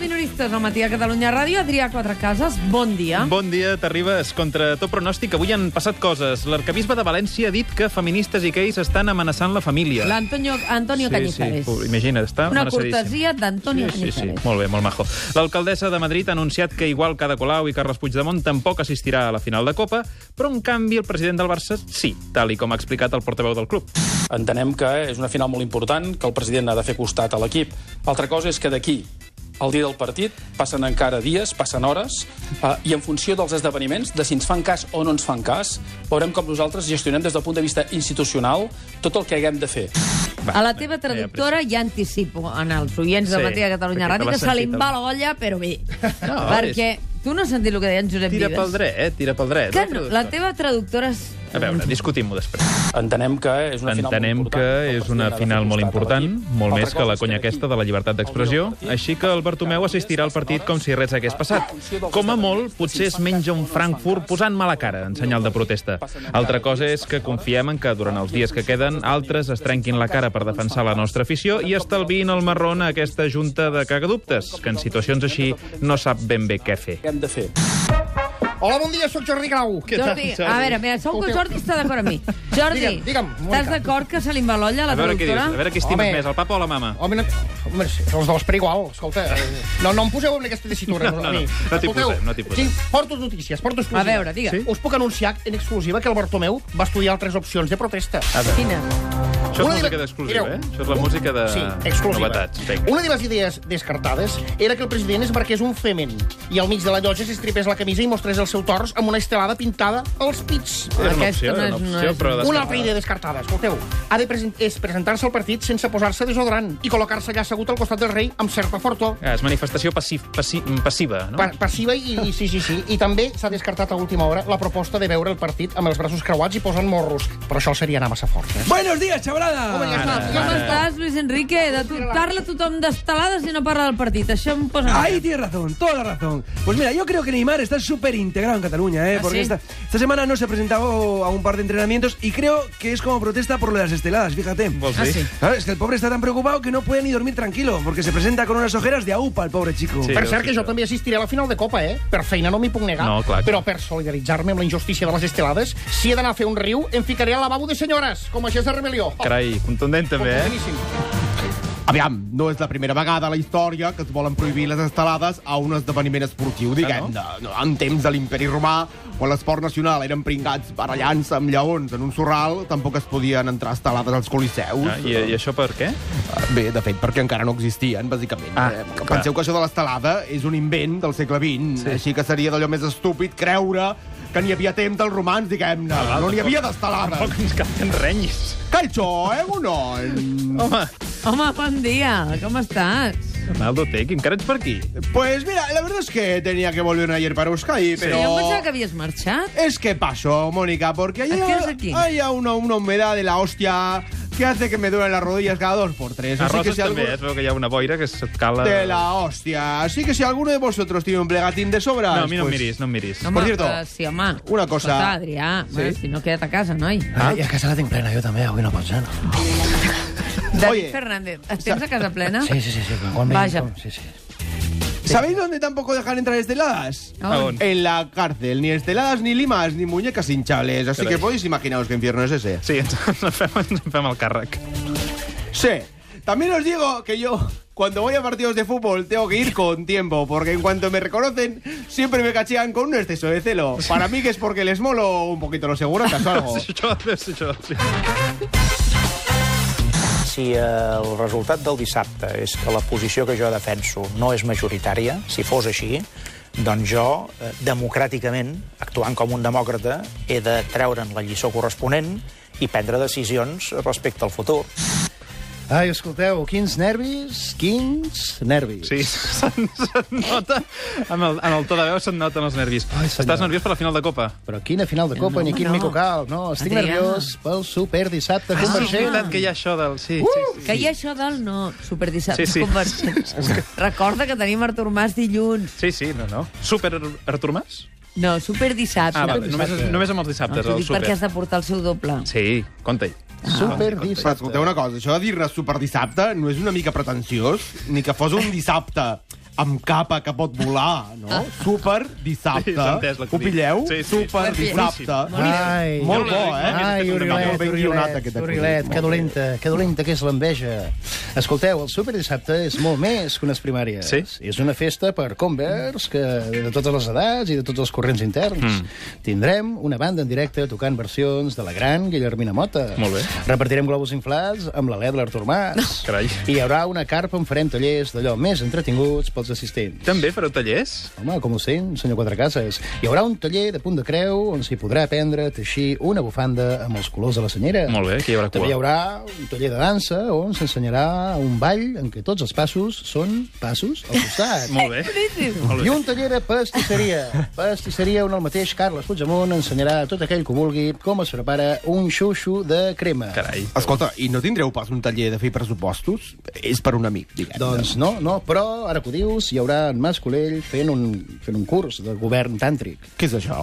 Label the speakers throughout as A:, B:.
A: minoristes al matí a Catalunya Ràdio. Adrià Quatrecases, bon dia.
B: Bon dia, t'arribes. Contra tot pronòstic, avui han passat coses. L'arcabisbe de València ha dit que feministes i gais estan amenaçant la família.
A: L'Antonio Antonio Cañizares.
B: Sí, imagina, està
A: Una
B: amenaçadíssim.
A: cortesia d'Antonio
B: Sí, sí,
A: Cañizares.
B: molt bé, molt majo. L'alcaldessa de Madrid ha anunciat que igual que Ada Colau i Carles Puigdemont tampoc assistirà a la final de Copa, però en canvi el president del Barça sí, tal i com ha explicat el portaveu del club.
C: Entenem que és una final molt important, que el president ha de fer costat a l'equip. Altra cosa és que d'aquí al dia del partit passen encara dies, passen hores, eh, i en funció dels esdeveniments, de si ens fan cas o no ens fan cas, veurem com nosaltres gestionem des del punt de vista institucional tot el que haguem de fer.
A: A la teva
B: anem,
A: traductora ja anticipo en els oients del
B: Sí,
A: matí de Catalunya
B: perquè te
A: Ràdio
B: l'has
A: que se li
B: sentit,
A: va l'olla, però bé.
B: No,
A: perquè tu no has sentit el que deia en Josep
B: Tira
A: Vives.
B: pel dret, eh? tira pel dret.
A: Que no, la teva traductora... És...
B: A veure, discutim-ho després.
C: Entenem que és una final
B: Entenem
C: molt important.
B: que
C: El
B: és una
C: president ha de fer
B: final molt
C: costat a
B: important,
C: l'equip.
B: molt
C: Altra
B: més que
C: cosa
B: la
C: és
B: conya
C: d'aquí
B: aquesta de la llibertat d'expressió,
C: al dia del partit
B: així que el Bartomeu
C: passen
B: assistirà al
C: dies,
B: partit
C: passen
B: com si res hagués
C: hores,
B: passat.
C: en funció dels
B: Com a molt,
C: esdeveniments,
B: potser es
C: si ens fan
B: menja
C: cas
B: un
C: o no ens fan
B: Frankfurt
C: cas,
B: posant mala cara en senyal de protesta. Altra cosa és que confiem en que durant els dies que queden altres es trenquin la cara per defensar la nostra afició i estalviïn el marrón a aquesta junta de cagadubtes, que en situacions així no sap ben bé què fer.
C: Què hem de fer?
D: Hola, bon dia, sóc Jordi Grau.
B: Què tal,
A: Jordi,
B: Jordi?
A: a veure, a veure, segur que
D: Escolteu.
A: Jordi està d'acord amb mi. Jordi,
D: Digue'm, digue'm,
A: estàs
D: Mònica.
A: d'acord que se li va l'olla a la
B: A veure què dius,
A: traductora?
B: a veure què estimes
D: Home.
B: més, el papa o la mama?
D: Home, no, home, sí, els dos per igual, escolta. eh, No, no em poseu en aquesta tessitura.
B: No, no,
D: a
B: no,
D: mi.
B: no t'hi
D: Escolteu,
B: posem, no t'hi posem.
D: Tinc, porto notícies, porto
A: A
D: exclusives.
A: veure, digue.
D: Us puc anunciar en exclusiva que el Bartomeu va estudiar altres opcions de protesta.
B: Ah,
A: Quina?
B: Això és
D: Una de-
B: música d'exclusiva,
D: Mireu.
B: eh? Això és la música de
D: Sí, exclusiva.
B: novetats. Vinga.
D: Una de les idees descartades era que el president es marqués un femen i al mig de la llotja s'estripés la camisa i mostrés el seu tors amb una estelada pintada als pits.
B: Era una
A: Aquesta
B: opció,
A: no
B: era una
A: és- no
B: opció,
A: és-
B: però...
D: Una
B: descartada.
D: altra idea descartada, escolteu. Ha de present és presentar-se al partit sense posar-se desodorant i col·locar-se allà assegut al costat del rei amb certa fortor.
B: Ah, és manifestació passi passi passiva, no?
D: Pa passiva i, i sí, sí, sí. I també s'ha descartat a última hora la proposta de veure el partit amb els braços creuats i posant morros. Però això seria anar massa fort, eh?
E: Buenos días, chavalada.
D: Home, ja està, ja
A: Com
D: està.
A: estàs, Luis Enrique? De tu, parla tothom d'estelada si no parla del partit. Això em posa...
E: Ahí tienes razón, toda la razón. Pues mira, yo creo que Neymar está súper integrado en Cataluña, ¿eh?
A: ¿Ah,
E: porque
A: sí?
E: esta, esta semana no se ha presentado a un par de entrenamientos y creo que es como protesta por lo de las esteladas, fíjate.
B: Vols dir?
A: Ah, sí.
E: Claro, es que el pobre está tan preocupado que no puede ni dormir tranquilo, porque se presenta con unas ojeras de aupa el pobre chico.
B: Sí.
D: Per cert, que jo també assistiré a la final de Copa, eh? Per feina no m'hi puc negar.
B: No, clar.
D: Però per solidaritzar-me amb la injustícia de les estelades, si he d'anar a fer un riu, em ficaré al lavabo de senyores, com a gest de rebel·lió. Oh,
B: Carai, contundent també, eh?
D: Boníssim.
F: Aviam, no és la primera vegada a la història que es volen prohibir les estelades a un esdeveniment esportiu, diguem-ne. no? En temps de l'imperi romà, quan l'esport nacional eren pringats barallant-se amb lleons en un sorral, tampoc es podien entrar estelades als coliseus.
B: Ah, i, I això per què?
F: Bé, de fet, perquè encara no existien, bàsicament.
B: Ah,
F: Eh,
B: clar.
F: Penseu que això de l'estelada és un invent del segle XX, sí. així que seria d'allò més estúpid creure que n'hi havia temps dels romans, diguem-ne. No n'hi havia
B: Tampoc
F: d'estelades.
B: ens cal que ens renyis.
F: Calxo, eh, Monon?
B: Home,
A: Home, bon dia, com estàs?
B: Ronaldo Tec, encara ets per aquí?
F: Pues mira, la verdad es que tenía que volver ayer para Euskadi,
A: Però... Jo em pensava
F: pero...
A: que havies marxat.
F: Es que pasó, Mónica, porque hay,
A: ¿A qué hora es aquí?
F: hay una, una humedad de la hostia que hace que me duelen las rodillas cada dos por tres.
B: A
F: Así que
B: Roses
F: si
B: també, eh?
F: alguno-
B: es veu que hi ha una boira que se't cala...
F: De la hostia. Así que si alguno de vosotros tiene un plegatín de pues, sobra...
B: No, a mi no em miris, no em miris.
A: Home,
F: cierto,
A: que sí, home.
F: una cosa-
A: Escolta, Adrià, sí? bueno, si no queda't a casa, noi.
D: Ah, I a casa la tinc plena, jo també, avui no pots, eh?
A: David
F: Oye.
A: Fernández, et tens a casa plena?
D: Sí, sí, sí, sí. quan vinc,
A: Vaja.
D: com- Sí, sí.
F: ¿Sabéis dónde tampoco dejan entrar esteladas?
A: A on?
B: A on?
F: En la cárcel. Ni esteladas, ni limas, ni muñecas hinchables. Así
B: Caray.
F: que podéis imaginaros qué infierno es ese.
B: Sí, ens, ens, fem, ens fem el càrrec.
F: Sí. También os digo que yo, cuando voy a partidos de fútbol, tengo que ir con tiempo, porque en cuanto me reconocen, siempre me cachean con un exceso de celo. Para mí que es porque les molo un poquito los seguratas
A: Oh.
F: o algo.
B: Això, això, sí.
G: Si eh, el resultat del dissabte és que la posició que jo defenso no és majoritària, si fos així, doncs jo, eh, democràticament, actuant com un demòcrata, he de treure'n la lliçó corresponent i prendre decisions respecte al futur.
D: Ai, escolteu, quins nervis, quins nervis.
B: Sí, se'n se'n nota. Amb el, en el to de veu se'n noten els nervis. Estàs nerviós per la final de Copa?
D: Però quina final de Copa,
A: No,
D: no, ni quin
A: no.
D: no. mico cal, no? Estic
A: Adrià.
D: nerviós pel super dissabte
B: Ah, sí, és
D: convergent.
B: veritat que hi ha això del... Sí, sí, sí.
A: Uh! Que hi ha això del no, superdissabte
B: Sí, sí.
A: convergent. Recorda que tenim Artur Mas dilluns.
B: Sí, sí, no, no. Super Artur Mas?
A: No, superdissabte.
B: Ah, vale. Només, només amb els
A: No,
B: dissabtes,
A: t'ho
B: el
A: dic Ah, perquè
B: super.
A: has de Ah. portar el seu doble.
B: Sí, compte-hi.
D: Super
F: Però
D: dissabte.
F: escolteu una cosa, això de dir-ne superdissabte no és una mica pretensiós, ni que fos un dissabte.
H: amb capa que pot volar, no? Super dissabte.
B: Ah. Sí, s'ha entès la
H: Ho
B: crisi.
H: pilleu?
B: Sí, sí.
H: Super
A: Boníssim.
H: dissabte.
D: Ai,
H: Molt bo, eh?
D: Ai, Orilet,
H: ben guionat,
D: Orilet,
H: aquest acudit.
D: Orilet, que dolenta, que dolenta que és l'enveja. Escolteu, el Super Dissabte és molt més que unes primàries.
B: Sí?
D: És una festa per converts que de totes les edats i de tots els corrents interns.
B: Mm.
D: Tindrem una banda en directe tocant versions de la gran Guillermina Mota.
B: Molt bé.
D: Repartirem globus inflats amb la l'Edler Artur Mas.
B: Carai.
D: I hi haurà una carpa on farem tallers d'allò més entretinguts pels assistents.
B: També fareu tallers?
D: Home, com ho sent, senyor Quatrecases? Hi haurà un taller de punt de creu on s'hi podrà aprendre a teixir una bufanda amb els colors de la senyera.
B: Molt bé, aquí hi haurà
D: També hi
B: cua.
D: haurà un taller de dansa on s'ensenyarà un ball en què tots els passos són passos al costat.
B: Molt bé. Molt
D: I
B: bé.
D: un taller de pastisseria. Pastisseria on el mateix Carles Puigdemont ensenyarà a tot aquell que vulgui com es prepara un xuxo de crema.
B: Carai.
H: Escolta, i no tindreu pas un taller de fer pressupostos? És per un amic, diguem.
D: Doncs no, no, però ara que ho dius, hi haurà en Mascolell fent un, fent un curs de govern tàntric.
H: Què és això?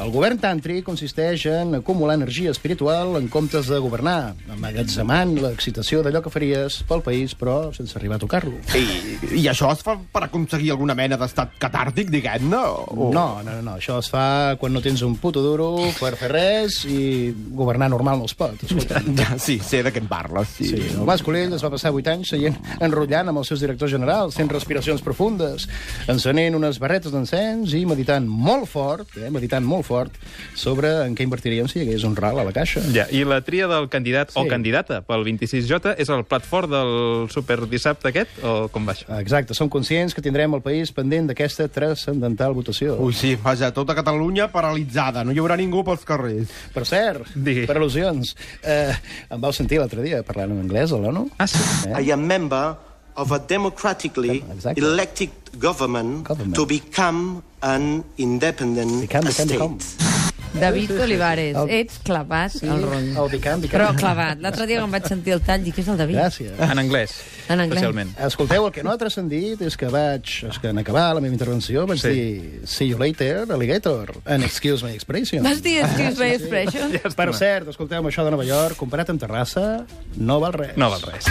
D: El govern tàntric consisteix en acumular energia espiritual en comptes de governar, amagatzemant l'excitació d'allò que faries pel país, però sense arribar a tocar-lo.
H: I, I això es fa per aconseguir alguna mena d'estat catàrtic, diguem-ne?
F: Oh.
H: O...
D: No, no, no, no, això es fa quan no tens un puto duro per fer res i governar normal no es pot, escolta.
H: Ja, sí, sé de què em parles. Sí.
D: Sí, el Mas Colell es va passar 8 anys seient enrotllant amb els seus directors generals, fent respiracions profundes, encenent unes barretes d'encens i meditant molt fort, eh, meditant molt fort, sobre en què invertiríem si hi hagués un ral a la caixa.
B: Ja, I la tria del candidat sí. o
D: Sí.
B: candidata pel 26J és el plat fort del superdissabte aquest? O com va això?
D: Exacte, som conscients que tindrem el país pendent d'aquesta transcendental votació.
H: Ui, sí, vaja, tota Catalunya paralitzada. No hi haurà ningú pels carrers.
D: Per cert,
B: Digui.
D: per al·lusions, eh, em vau sentir l'altre dia parlant en anglès a l'ONU?
B: Ah, sí?
D: Eh?
G: I am member of a democratically
D: Exactly.
G: elected government,
D: Government.
G: to become an independent
D: Become, become,
G: state.
D: become.
A: David Olivares,
D: El-
A: ets clavat al rotllo.
D: El Bicam, Bicam.
A: Però clavat. L'altre dia que em vaig sentir el tall, dic, què és el David?
D: Gràcies.
B: En anglès.
A: En anglès.
B: Especialment.
D: Escolteu, el que no ha transcendit és que vaig, és que en acabar la meva intervenció vaig
B: Sí.
D: sí. dir see you later, alligator, and excuse my expression.
A: Vas dir Excuse Me Expression?
D: Per cert, escolteu, amb això de Nova York, comparat amb Terrassa, no val res.
B: No val res.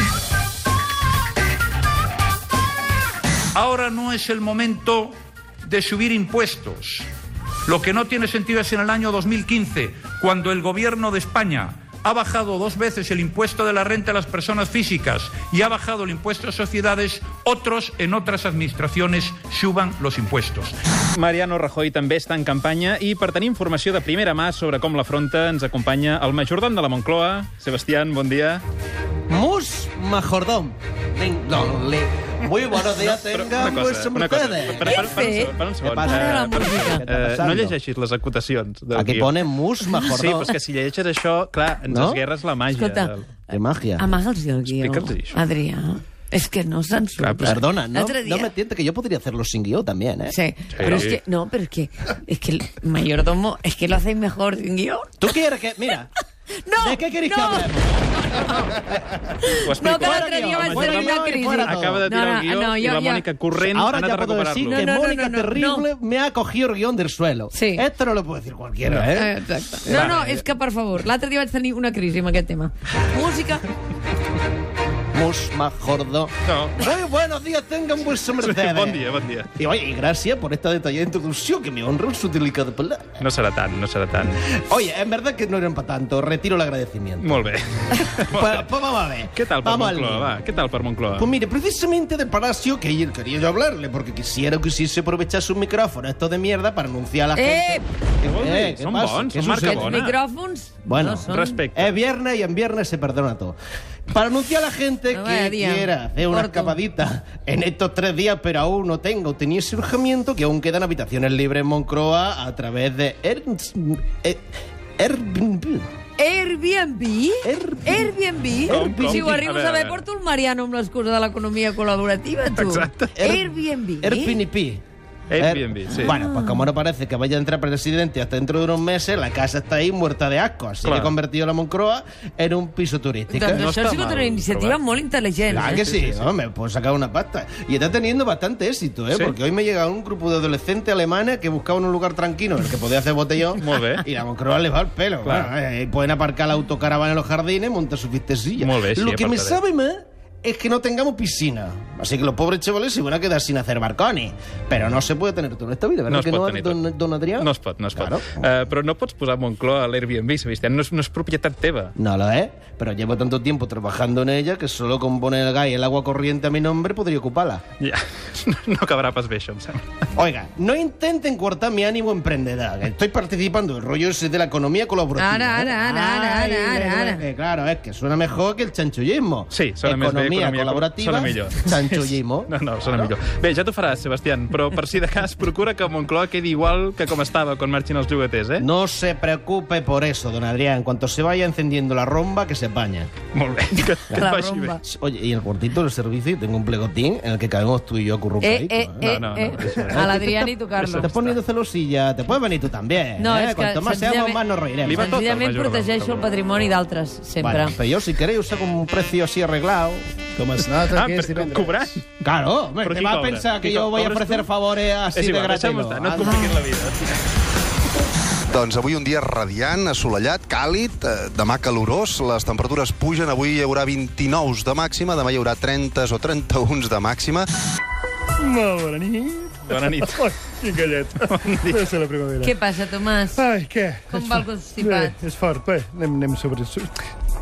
I: Ahora no es el momento de subir impuestos. Lo que no tiene sentido es en el año 2015, cuando el gobierno de España ha bajado dos veces el impuesto de la renta a las personas físicas y ha bajado el impuesto a sociedades, otros en otras administraciones suban los impuestos.
B: Mariano Rajoy també està en campanya i per tenir informació de primera mà sobre com l'afronta ens acompanya el majordom de la Moncloa. Sebastián, bon dia.
F: Mus Majordom. Ding dong, li. Muy buenos días, tengan pues ustedes.
B: Per, per, per, per, un segon, per un segon.
A: Para la
B: Eh, per-
A: música.
B: eh, no llegeixis les acotacions. del
F: Aquí
B: guió.
F: Eh, pone Mus Majordom. Eh,
B: Sí, però és que si llegeixes això, clar, ens
F: No?
B: esguerres la màgia.
A: Escolta,
B: del-
F: Qué magia.
A: amaga'ls el guió,
B: Explica'ls això.
A: Adrià. És que no se'n surt.
B: Clar, però-
F: Perdona, no,
A: L'altre
F: no
A: dia-
F: me tiente que yo podría hacerlo sin guión también, ¿eh?
A: Sí, pero es que, no, pero es que, es que el mayordomo, es que lo hacéis mejor sin guión.
F: ¿Tú quieres que...? Mira,
A: No,
F: ¿de qué queréis
A: no,
F: que hablemos?
B: Ho
A: No,
B: explico.
A: que l'altre dia vaig
F: Fuera
A: tenir una
F: guió i
A: crisi.
F: fuera todo.
B: Acaba de tirar
A: No, no,
B: el guió
A: no,
B: i
A: jo-
B: la
A: jo-
B: Mònica corrent ha
F: Ahora
B: anat a
F: ya puedo decir
B: recuperar-lo.
F: que
A: No, no,
F: Mónica
A: no, no,
F: Terrible me ha cogido el guión del suelo.
A: Sí.
F: Esto no lo puede decir cualquiera, ¿eh?
A: Eh, Exacte. No, no, és que, per favor, l'altre dia vaig tenir una crisi amb aquest tema. Música, Eh.
F: Mus Majordom.
B: No.
F: Muy buenos días, tengan vuestro mercedes.
B: Bon dia, bon dia.
F: Y oye, y gracias por esta detallada introducción que me honra en su delicada palabra.
B: No serà tant, no serà tant.
F: Oye, en verdad que no eran para tanto. Retiro el agradecimiento.
B: Molt bé.
F: Pues, pues vamos a ver.
B: Què tal per
F: Vamos al
B: Moncloa,
F: lío.
B: va? Què tal per Moncloa?
F: Pues mire, precisamente de Palacio que ayer quería yo hablarle, porque quisiera que hiciese aprovechar su micrófono, esto de mierda, para anunciar a la
A: Eh,
F: gente.
B: Què vol dir?
F: ¿qué
B: Són
F: pasa?
B: bons,
F: ¿Qué
B: són marca
F: sucede?
A: els
B: bona.
A: micròfons...
F: Bueno,
A: no són...
B: Respecte.
F: Es Eh, viernes y en viernes se perdona todo. Para anunciar a la gente
A: No
F: que
A: vaya día.
F: quiera hacer una
A: Corto.
F: escapadita en estos tres días, pero aún no tengo, tenía ese urgimiento que aún quedan habitaciones libres en Moncroa a través de Ernst- eh, Airbnb.
A: Airbnb?
F: Air-
A: Airbnb?
B: Com, com?
A: Si ho arribo
B: A
A: a
B: veure, a
A: saber,
B: veure.
A: porto el Mariano amb l'excusa de l'economia col·laborativa, tu.
B: Exacte.
A: Airbnb?
F: Airbnb.
B: Eh, Airbnb, sí.
F: Bueno, pues como no parece que vaya a entrar presidente hasta dentro de unos meses, la casa está ahí muerta de asco. Así
B: Claro.
F: que he convertido la Moncroa en un piso turístico.
A: Doncs
B: No
A: això
B: està
A: ha sigut
B: mal
A: una iniciativa
B: trobat.
A: molt intel·ligent.
F: Claro
A: eh?
F: que sí, me puedo sacar una pasta. Y está teniendo bastante éxito, ¿eh?
B: Sí.
F: Porque hoy me llega un grupo de adolescentes alemanes que buscaban un lugar tranquilo en el que podía hacer botellón.
B: Muy bien.
F: Y la Moncroa les va al pelo. eh,
B: Claro.
F: Bueno, eh, pueden aparcar la autocaravana en los jardines, montar su fiestecilla.
B: Muy bien, sí,
F: Lo que me
B: aparcaré.
F: sabe más
G: es que no tengamos piscina. Así que los pobres chavales se van a quedar sin hacer barcones. Pero no se puede tener todo en esta vida, ¿verdad?
B: No es
G: que
B: pot
G: no,
B: tenir tot.
G: don, don Adrià?
B: No es pot, no es pot. Eh, però no pots posar Moncloa a l'Airbnb, Sebastián. No és, no és propietat teva.
G: No lo es, pero llevo tanto tiempo trabajando en ella que solo con poner el gas y el agua corriente a mi nombre podría ocuparla.
B: Ja. No acabarà pas bé, això, em sembla.
G: Oiga, no intenten cortar mi ánimo emprendedor. Estoy participando en el rollo ese de la economía colaborativa.
A: Ara, ara, ara, ara,
G: Ay,
A: ara, ara, ara.
G: eh, claro, es que suena mejor que el chanchullismo.
B: Sí, sona més bé.
G: economía colaborativa,
B: Sona millor.
G: chanchullismo.
B: No, no, sona millor. Bé, ja t'ho faràs, Sebastián, però per si de cas procura que Moncloa quedi igual que com estava quan marxin els jugueters, eh?
G: No se preocupe por eso, don Adrián. En cuanto se vaya encendiendo la romba, que se baña.
B: Molt bé, que, que et
A: La
B: vagi bé.
A: romba.
G: Oye, y el cuartito del servicio, tengo un plegotín en el que cabemos tú y yo
A: Eh,
G: acurrucaditos.
A: eh,
G: ¿eh?
A: eh,
B: no, no,
A: eh.
B: eso no.
A: A l'Adrián i tocar-lo.
G: Te has poniendo celosilla, te puedes venir tú también.
A: No,
G: ¿eh?
A: és que...
G: Cuanto más seamos, más nos reiremos.
B: Li va tot el
A: senzillament
B: majordom,
A: protegeixo el
B: segurament.
A: patrimoni d'altres, sempre.
G: Bueno, pero yo, si queréis, os hago un precio así arreglado.
J: Com es nota
B: Ah,
J: que és
B: però
J: divendres.
B: cobrant?
G: Claro, hombre,
B: Pero
G: te
B: ¿quién
G: va a
B: cobra?
G: pensar que
B: ¿Quién
G: yo voy a
B: cobras
G: ofrecer
B: tú?
G: favores así
B: És
G: de
B: igual,
G: gratis.
B: deixem-ho estar, no et compliquis la vida.
F: Doncs avui un dia radiant, assolellat, càlid, eh, demà calorós, les temperatures pugen, avui hi haurà 29 de màxima, demà hi haurà 30 o 31 de màxima.
D: Molt bona nit.
B: Bona nit.
D: Ai, quin gallet. Deu ser la primavera.
A: Què passa, Tomàs?
D: Ai, què?
A: Com va el constipat?
D: Bé, és fort, bé. Anem, anem sobre... so-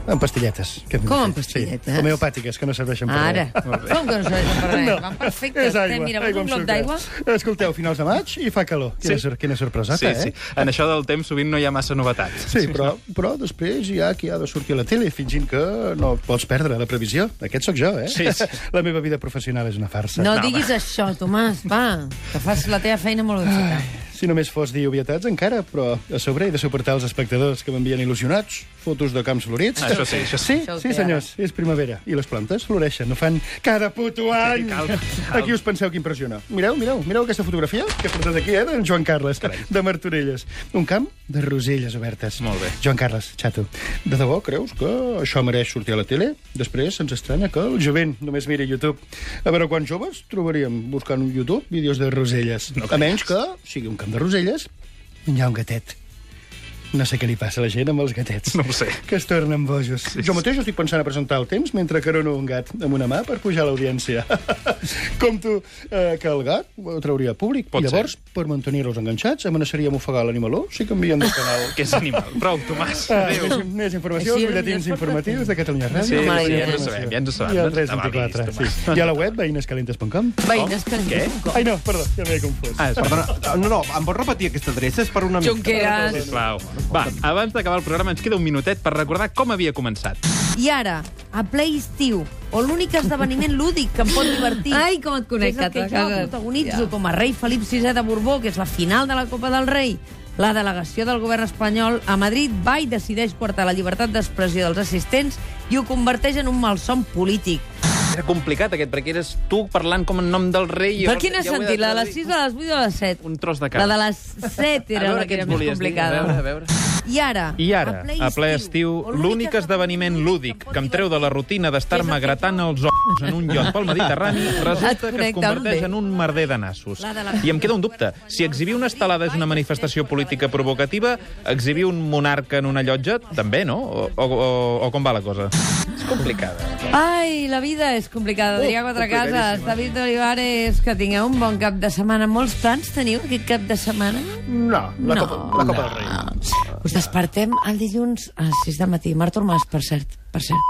D: Amb pastilletes. que hem de
A: Com
D: fer.
A: amb pastilletes?
D: Sí, homeopàtiques, que no serveixen per
A: Ara.
D: res.
A: Com que no serveix per res? Van perfectes.
D: és aigua.
A: Té, mira,
D: Ai,
A: vols
D: com
A: un glob
D: surt,
A: d'aigua?
D: eh? Escolteu, finals de maig i fa calor.
B: Sí.
D: Quina, sí. sor quina sorpresata,
B: Sí,
D: eh?
B: sí. En això del temps sovint no hi ha massa novetats.
D: Sí, però, però després hi ha qui ha de sortir a la tele fingint que no pots perdre la previsió. Aquest sóc jo, eh?
B: Sí, sí.
D: La meva vida professional és una farsa.
A: No diguis això, Tomàs, va, que fas la teva feina molt ben feta.
D: Si només fos dir obvietats, encara, però a sobre he de suportar els espectadors que m'envien il·lusionats, fotos de camps florits.
B: Ah, això sí, això sí.
D: sí.
A: Això ho té
D: Sí, senyors, és primavera. I les plantes floreixen, no fan cada puto any.
B: calma, calma.
D: Aquí us penseu que impressiona. Mireu, mireu, mireu aquesta fotografia que he portat aquí, eh, d'en Joan Carles, de Martorelles. Un camp de roselles obertes.
B: Molt bé.
D: Joan Carles, xato, de debò creus que això mereix sortir a la tele? Després ens estranya que el jovent només miri YouTube. A veure quants joves trobaríem buscant un YouTube vídeos de roselles. No a menys que sigui un camp de roselles i hi ha un gatet. No sé què li passa a la gent amb els gatets.
B: No ho sé.
D: Que es tornen bojos. Sí, jo mateix estic pensant a presentar el temps mentre carono un gat amb una mà per pujar a l'audiència. Compto eh, que el gat ho trauria a públic.
B: Pot
D: I llavors,
B: ser.
D: per mantenir-los enganxats, amenaçaríem ofegar l'animaló si canvien de canal.
B: Que és animal. Prou, Tomàs.
D: Ah,
B: Adéu.
D: més, més informació,
A: Així
D: els
A: era
D: butlletins
A: millor.
D: informatius de Catalunya Ràdio.
B: Sí,
A: Home, la
B: sí, ja ens ho
A: idea.
B: sabem, ja ens ho sabem.
D: I el
B: No te
D: 324,
B: avalis,
D: sí.
B: Tomàs.
D: I a la web, veinescalentes.com.
A: Veïnes que ens
D: Ai, no, perdó, ja m'he confós.
B: Ah, és
K: Perdona, no, no, em pots repetir aquesta adreça? És per una mica.
A: Junqueras.
B: Sisplau. Va, abans d'acabar el programa ens queda un minutet per recordar com havia començat.
L: I ara, a Play Estiu, o l'únic esdeveniment lúdic que em pot divertir.
A: Ai, com et conec,
L: que és el que
A: Cata,
L: jo
A: que-
L: protagonitzo
A: Ja.
L: com a rei Felip VI de Borbó, que és la final de la Copa del Rei. La delegació del govern espanyol a Madrid va i decideix coartar la llibertat d'expressió dels assistents i ho converteix en un malson polític.
B: Era complicat aquest, perquè eres tu parlant com en nom del rei... i
A: Per
B: llavors
A: quin
B: ho he
A: sentit?
B: de
A: La de les 6,
B: traduir.
A: la de les 8 o la de les 7?
B: Un tros de
A: La
B: cara.
A: de les 7
B: A
A: era
B: veure
A: la
B: què
A: que era
B: ens
A: més
B: volies dir.
A: complicada.
B: A veure, a veure.
L: I ara,
B: I ara, a ple estiu, l'únic esdeveniment lúdic que em treu de la rutina d'estar-me gratant els ous en un lloc pel Mediterrani
A: Et
B: resulta que es
A: connecta
B: converteix
A: amb
B: en un merder de nassos.
L: La de la-
B: I em queda un dubte. Si exhibir una estelada és una manifestació política provocativa, exhibir un monarca en una llotja també, no? O, o, o- o com va la cosa? És complicada.
A: Ai, la vida és complicada. Adrià Quatrecases, David Olivares, que tingueu un bon cap de setmana. Molts plans teniu aquest cap de setmana?
M: No, la
A: No,
M: Copa, la Copa del Rei.
A: Us despertem el dilluns a les 6 del matí. Marc Tormàs, per cert, per cert.